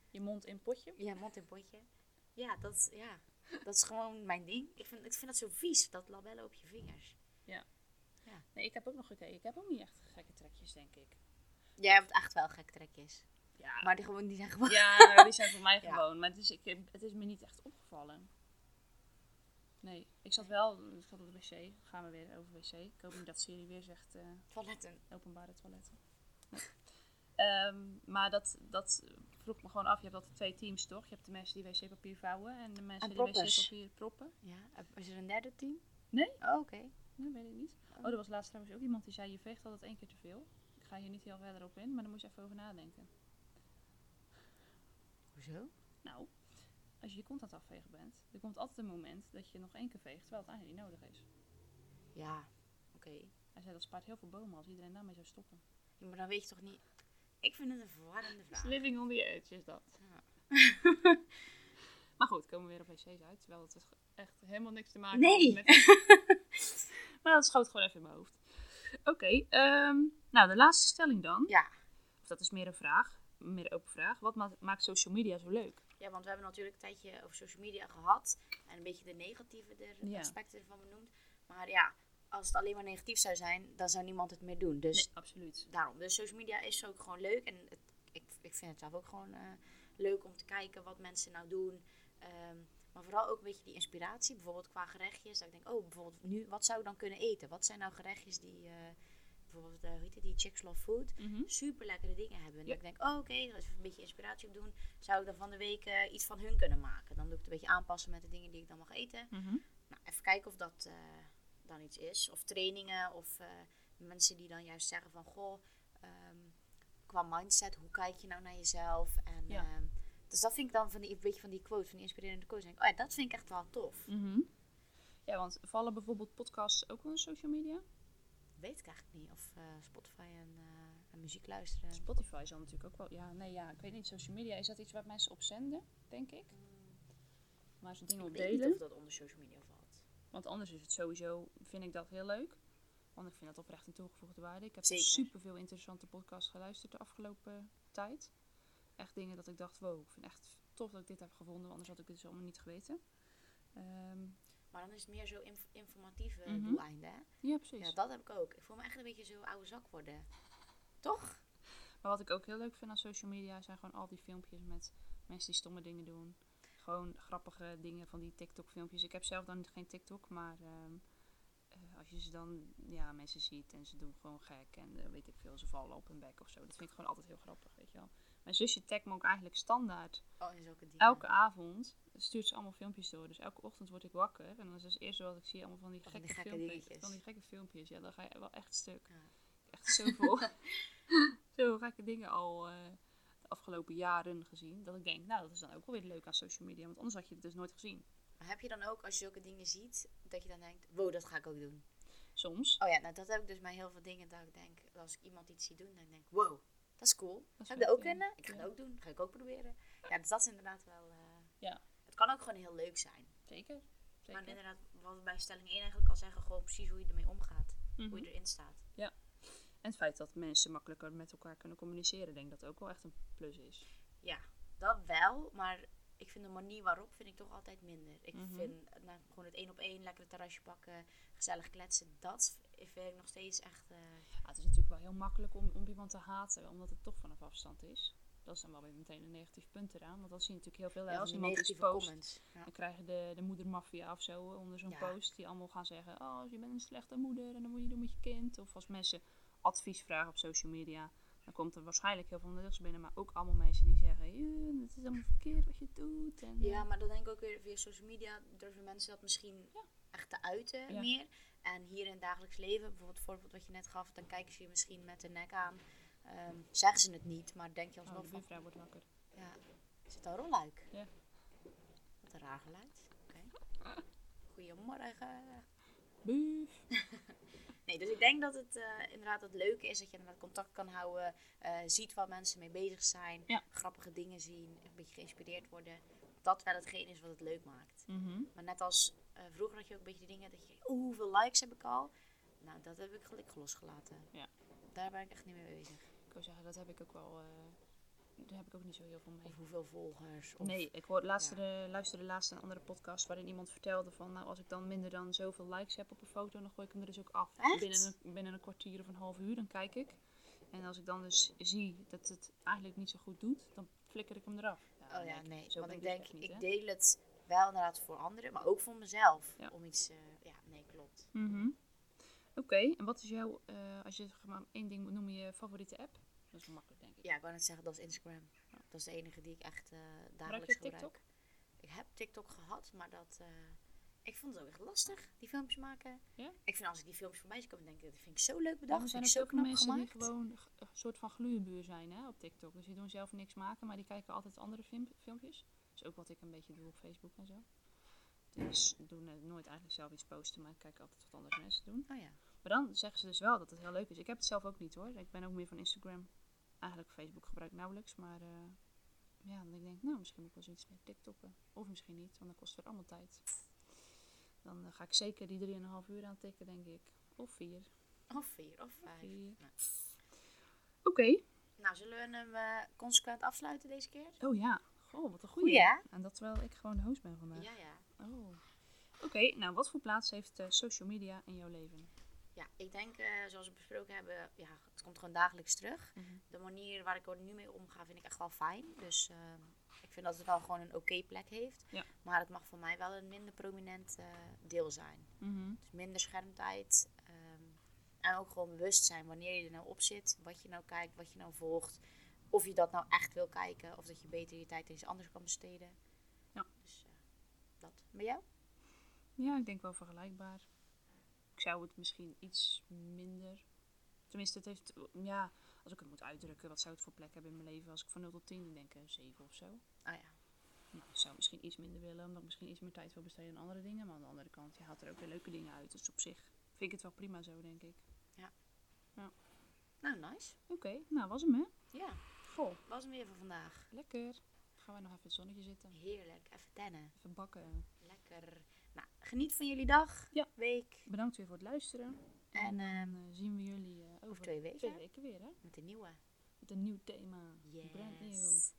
C: Je mond in potje.
A: Ja, mond in potje. Ja, dat is, ja, dat is gewoon mijn ding. Ik vind, ik vind dat zo vies, dat labello op je vingers.
C: Nee, ik heb ook nog gekeken. Ik heb ook niet echt gekke trekjes, denk ik.
A: Jij hebt echt wel gek trekjes.
C: Ja,
A: Maar die, gewoon, die zijn gewoon...
C: [LAUGHS] ja die zijn voor
A: [LAUGHS]
C: mij
A: Ja.
C: gewoon. Maar het is, ik, heb- het is me niet echt opgevallen. Nee, ik zat wel, ik zat op de wc. Gaan we weer over wc. Ik hoop niet dat Siri weer zegt... eh,
A: [LAUGHS] Toiletten.
C: openbare toiletten. Ehm, maar dat, dat vroeg me gewoon af. Je hebt altijd twee teams, toch? Je hebt de mensen die wc-papier vouwen en de mensen
A: En
C: die
A: proppers.
C: wc-papier proppen.
A: Ja, is er een derde team?
C: Nee.
A: Oh, Oké.
C: Nee, weet ik niet. Oh, er was laatst trouwens ook iemand die zei, je veegt altijd één keer te veel. Ik ga hier niet heel verder op in, maar daar moet je even over nadenken.
A: Hoezo?
C: Nou, als je je kont aan het afvegen bent, er komt altijd een moment dat je nog één keer veegt, terwijl het eigenlijk niet nodig is.
A: Ja, oké.
C: Hij zei, dat spaart heel veel bomen als iedereen daarmee zou stoppen.
A: Ja, maar dan weet je toch niet... Ik vind het een verwarrende vraag.
C: Living on the edge is dat.
A: Ja.
C: [LAUGHS] maar goed, komen we weer op wc's uit. Terwijl het is echt helemaal niks te maken
A: Nee.
C: heeft met... [LAUGHS] maar dat schoot gewoon even in mijn hoofd. Oké, ehm, nou de laatste stelling dan.
A: Ja.
C: Of dat is meer een vraag, meer een open vraag. Wat ma- maakt social media zo leuk?
A: Ja, want we hebben natuurlijk een tijdje over social media gehad. En een beetje de negatieve er-
C: Ja.
A: aspecten ervan benoemd. Maar ja, als het alleen maar negatief zou zijn, dan zou niemand het meer doen. Dus
C: Nee, absoluut.
A: daarom. Dus social media is ook gewoon leuk. En het, ik, ik vind het zelf ook gewoon eh, leuk om te kijken wat mensen nou doen. Ehm, maar vooral ook een beetje die inspiratie. Bijvoorbeeld qua gerechtjes. Dat ik denk, oh, bijvoorbeeld nu, wat zou ik dan kunnen eten? Wat zijn nou gerechtjes die, eh, bijvoorbeeld, eh, hoe heet het, die Chicks Love Food?
C: Mhm.
A: super lekkere dingen hebben. En
C: Ja.
A: dat ik denk, oh, oké, als ik een beetje inspiratie op doen, zou ik dan van de week eh, iets van hun kunnen maken. Dan doe ik het een beetje aanpassen met de dingen die ik dan mag eten.
C: Mhm.
A: Nou, even kijken of dat eh, dan iets is. Of trainingen, of eh, mensen die dan juist zeggen van, goh, ehm, qua mindset, hoe kijk je nou naar jezelf? En,
C: Ja.
A: ehm, dus dat vind ik dan van die, een beetje van die quote, van die inspirerende quote. Dan Denk, ik, oh ja, dat vind ik echt wel tof.
C: Mhm. Ja, want vallen bijvoorbeeld podcasts ook wel in social media?
A: Weet ik eigenlijk niet. Of eh, Spotify en, eh, en muziek luisteren.
C: Spotify zal natuurlijk ook wel. Ja, nee, ja, ik weet niet. Social media is dat iets waar mensen op zenden, denk ik. Maar ze dingen
A: ik
C: op
A: weet niet
C: delen.
A: of dat onder social media valt.
C: Want anders is het sowieso, vind ik dat heel leuk. Want ik vind dat oprecht een toegevoegde waarde. Ik heb
A: Zeker.
C: superveel interessante podcasts geluisterd de afgelopen tijd. Echt dingen dat ik dacht, wow, ik vind echt tof dat ik dit heb gevonden. want Anders had ik dit dus allemaal niet geweten. Ehm,
A: Maar dan is het meer zo inf- informatieve
C: Mhm.
A: doeleinde, hè?
C: ja, precies.
A: Ja, dat heb ik ook. Ik voel me echt een beetje zo oude zak worden. Toch?
C: Maar wat ik ook heel leuk vind aan social media zijn gewoon al die filmpjes met mensen die stomme dingen doen. Gewoon grappige dingen van die TikTok-filmpjes. Ik heb zelf dan geen TikTok, maar ehm, eh, als je ze dan, ja, mensen ziet en ze doen gewoon gek en eh, weet ik veel, ze vallen op hun bek of zo. Dat vind ik gewoon altijd heel grappig, weet je wel. Mijn zusje tagt me ook eigenlijk standaard.
A: Oh, in zulke dingen.
C: Elke avond stuurt ze allemaal filmpjes door. Dus elke ochtend word ik wakker en dan is het eerste wat ik zie allemaal van die
A: Van
C: gekke,
A: die gekke
C: filmpjes.
A: dingetjes.
C: Van die gekke filmpjes, ja, dan ga je wel echt stuk
A: Ja.
C: echt
A: [LAUGHS]
C: zoveel, zoveel gekke dingen al eh, de afgelopen jaren gezien. Dat ik denk, nou, dat is dan ook wel weer leuk aan social media. Want anders had je het dus nooit gezien.
A: Maar heb je dan ook, als je zulke dingen ziet, dat je dan denkt, wow, dat ga ik ook doen.
C: Soms.
A: Oh ja, nou dat heb ik dus bij heel veel dingen, dat ik denk, als ik iemand iets zie doen, dan denk ik, wow, dat is cool.
C: is
A: Zou ik
C: wel
A: dat ook
C: cool,
A: kunnen? Ik ga
C: ja.
A: het ook doen. ga ik ook proberen. Ja, dus dat is inderdaad wel... eh,
C: Ja.
A: Het kan ook gewoon heel leuk zijn.
C: Zeker.
A: Maar
C: Zeker.
A: inderdaad, wat we bij stelling 1 eigenlijk al zeggen, gewoon precies hoe je ermee omgaat.
C: Mhm.
A: Hoe je erin staat.
C: En het feit dat mensen makkelijker met elkaar kunnen communiceren, denk ik dat ook wel echt een plus is.
A: Ja, dat wel, maar ik vind de manier waarop vind ik toch altijd minder. Ik
C: Mhm.
A: vind nou, gewoon het één op één, lekker het terrasje pakken, gezellig kletsen, dat vind ik nog steeds echt. eh,
C: Ja, het is natuurlijk wel heel makkelijk om, om iemand te haten, omdat het toch vanaf afstand is. Dat is dan wel weer meteen een negatief punt eraan. Want dat zie je natuurlijk heel veel. hè,
A: ja,
C: als
A: die
C: iemand iets
A: negatieve
C: post,
A: comments. Ja.
C: Dan krijgen de, de moedermafia of zo eh, onder zo'n
A: Ja.
C: post. Die allemaal gaan zeggen, oh, je bent een slechte moeder en dat moet je doen met je kind. Of als mensen advies vragen op social media. Dan komt er waarschijnlijk heel veel onderdrukkers binnen, maar ook allemaal mensen die zeggen: "Eh, Het is allemaal verkeerd wat je doet. En,
A: Ja, maar dan denk ik ook weer via social media durven mensen dat misschien echt te uiten
C: Ja.
A: meer. En hier in het dagelijks leven, bijvoorbeeld het voorbeeld wat je net gaf, dan kijken ze je misschien met de nek aan. Ehm, zeggen ze het niet, maar denk je
C: Oh,
A: alsnog
C: de
A: van,
C: buurvrouw wordt wakker.
A: ja, is het een rolluik?
C: Ja.
A: Wat een raar geluid. Oké. Goedemorgen.
C: Buuf.
A: Nee, dus ik denk dat het eh, inderdaad het leuke is dat je inderdaad contact kan houden, eh, ziet waar mensen mee bezig zijn,
C: Ja.
A: grappige dingen zien, een beetje geïnspireerd worden. Dat wel hetgeen is wat het leuk maakt.
C: Mhm.
A: Maar net als eh, vroeger had je ook een beetje die dingen dat je, oeh, hoeveel likes heb ik al? Nou, dat heb ik gelukkig losgelaten.
C: Ja.
A: Daar ben ik echt niet mee bezig.
C: Ik wil zeggen, dat heb ik ook wel. eh daar heb ik ook niet zo heel veel mee.
A: Of hoeveel volgers. Of,
C: Nee, ik hoor, laatste de, luisterde laatst een andere podcast waarin iemand vertelde van, nou als ik dan minder dan zoveel likes heb op een foto, dan gooi ik hem er dus ook af.
A: Echt?
C: Binnen een, binnen een kwartier of een half uur, dan kijk ik. En als ik dan dus zie dat het eigenlijk niet zo goed doet, dan flikker ik hem eraf.
A: Oh ja, nee.
C: zo
A: Want
C: ben
A: ik
C: dus
A: denk,
C: echt niet,
A: ik
C: hè?
A: deel het wel inderdaad voor anderen, maar ook voor mezelf.
C: Ja.
A: Om iets, eh, ja, nee, klopt.
C: Mhm. Oké, en wat is jouw, eh, als je zeg maar één ding moet noemen, je favoriete app? Dat is wel makkelijk, denk ik.
A: Ja, ik wou net zeggen, dat is Instagram. Dat is de enige die ik echt eh dagelijks
C: je
A: gebruik.
C: TikTok?
A: Ik heb TikTok gehad, maar dat... eh, ik vond het ook echt lastig, die filmpjes maken.
C: Ja?
A: Ik vind als ik die filmpjes voorbij zie komen, denk ik, dat vind ik zo leuk
C: Ja,
A: bedacht.
C: er zijn
A: vind ik zo
C: ook veel
A: knap
C: mensen
A: gemaakt.
C: die gewoon g- een soort van gluurbuur zijn hè, op TikTok. Dus die doen zelf niks maken, maar die kijken altijd andere film- filmpjes. Dat is ook wat ik een beetje doe op Facebook en zo. Dus doen eh, nooit eigenlijk zelf iets posten, maar kijken altijd wat andere mensen doen.
A: Oh ja.
C: Maar dan zeggen ze dus wel dat het heel leuk is. Ik heb het zelf ook niet hoor. Ik ben ook meer van Instagram. Eigenlijk Facebook gebruik ik nauwelijks. Maar eh, ja, dan denk ik, denk, nou misschien moet ik wel zoiets met TikTokken. Of misschien niet, want dan kost het weer allemaal tijd. Dan eh, ga ik zeker die 3,5 uur aan tikken, denk ik. Of vier.
A: Of vier, of vijf.
C: Vier.
A: Nou.
C: Oké.
A: Nou, zullen we hem eh, consequent afsluiten deze keer?
C: Oh ja. Goh, wat een goeie.
A: Goeie, hè?
C: En dat terwijl ik gewoon de host ben vandaag.
A: Ja, ja.
C: Oh. Oké, nou wat voor plaats heeft eh, social media in jouw leven?
A: Ja, ik denk, eh, zoals we besproken hebben, ja, het komt gewoon dagelijks terug.
C: Mhm.
A: De manier waar ik er nu mee omga vind ik echt wel fijn. Dus eh, ik vind dat het wel gewoon een oké plek heeft.
C: Ja.
A: Maar het mag voor mij wel een minder prominent eh, deel zijn.
C: Mhm.
A: Dus minder schermtijd. ehm, en ook gewoon bewust zijn wanneer je er nou op zit. Wat je nou kijkt, wat je nou volgt. Of je dat nou echt wil kijken. Of dat je beter je tijd in iets anders kan besteden.
C: Ja.
A: Dus eh, dat. Bij jou?
C: Ja, ik denk wel vergelijkbaar. Ik zou het misschien iets minder. Tenminste, het heeft. Ja, als ik het moet uitdrukken, wat zou het voor plek hebben in mijn leven? Als ik van 0 tot 10 denk, een 7 of zo.
A: Ah ja.
C: Nou, ik zou misschien iets minder willen, omdat ik misschien iets meer tijd wil besteden aan andere dingen. Maar aan de andere kant, je haalt er ook weer leuke dingen uit. Dus op zich vind ik het wel prima zo, denk ik.
A: Nou, nice.
C: Oké, nou was hem hè.
A: Ja,
C: Goh,
A: was hem weer voor vandaag.
C: lekker. Gaan we nog even in het zonnetje zitten.
A: Heerlijk. Even tennen.
C: Even bakken.
A: Lekker. Nou, geniet van jullie dag,
C: Ja.
A: week
C: Bedankt weer voor het luisteren.
A: en ehm,
C: Dan eh, zien we jullie eh, over
A: over twee
C: twee
A: weken
C: weken weer hè.
A: met de nieuwe.
C: Met een nieuw thema. Brand new.
A: Yes. Nou,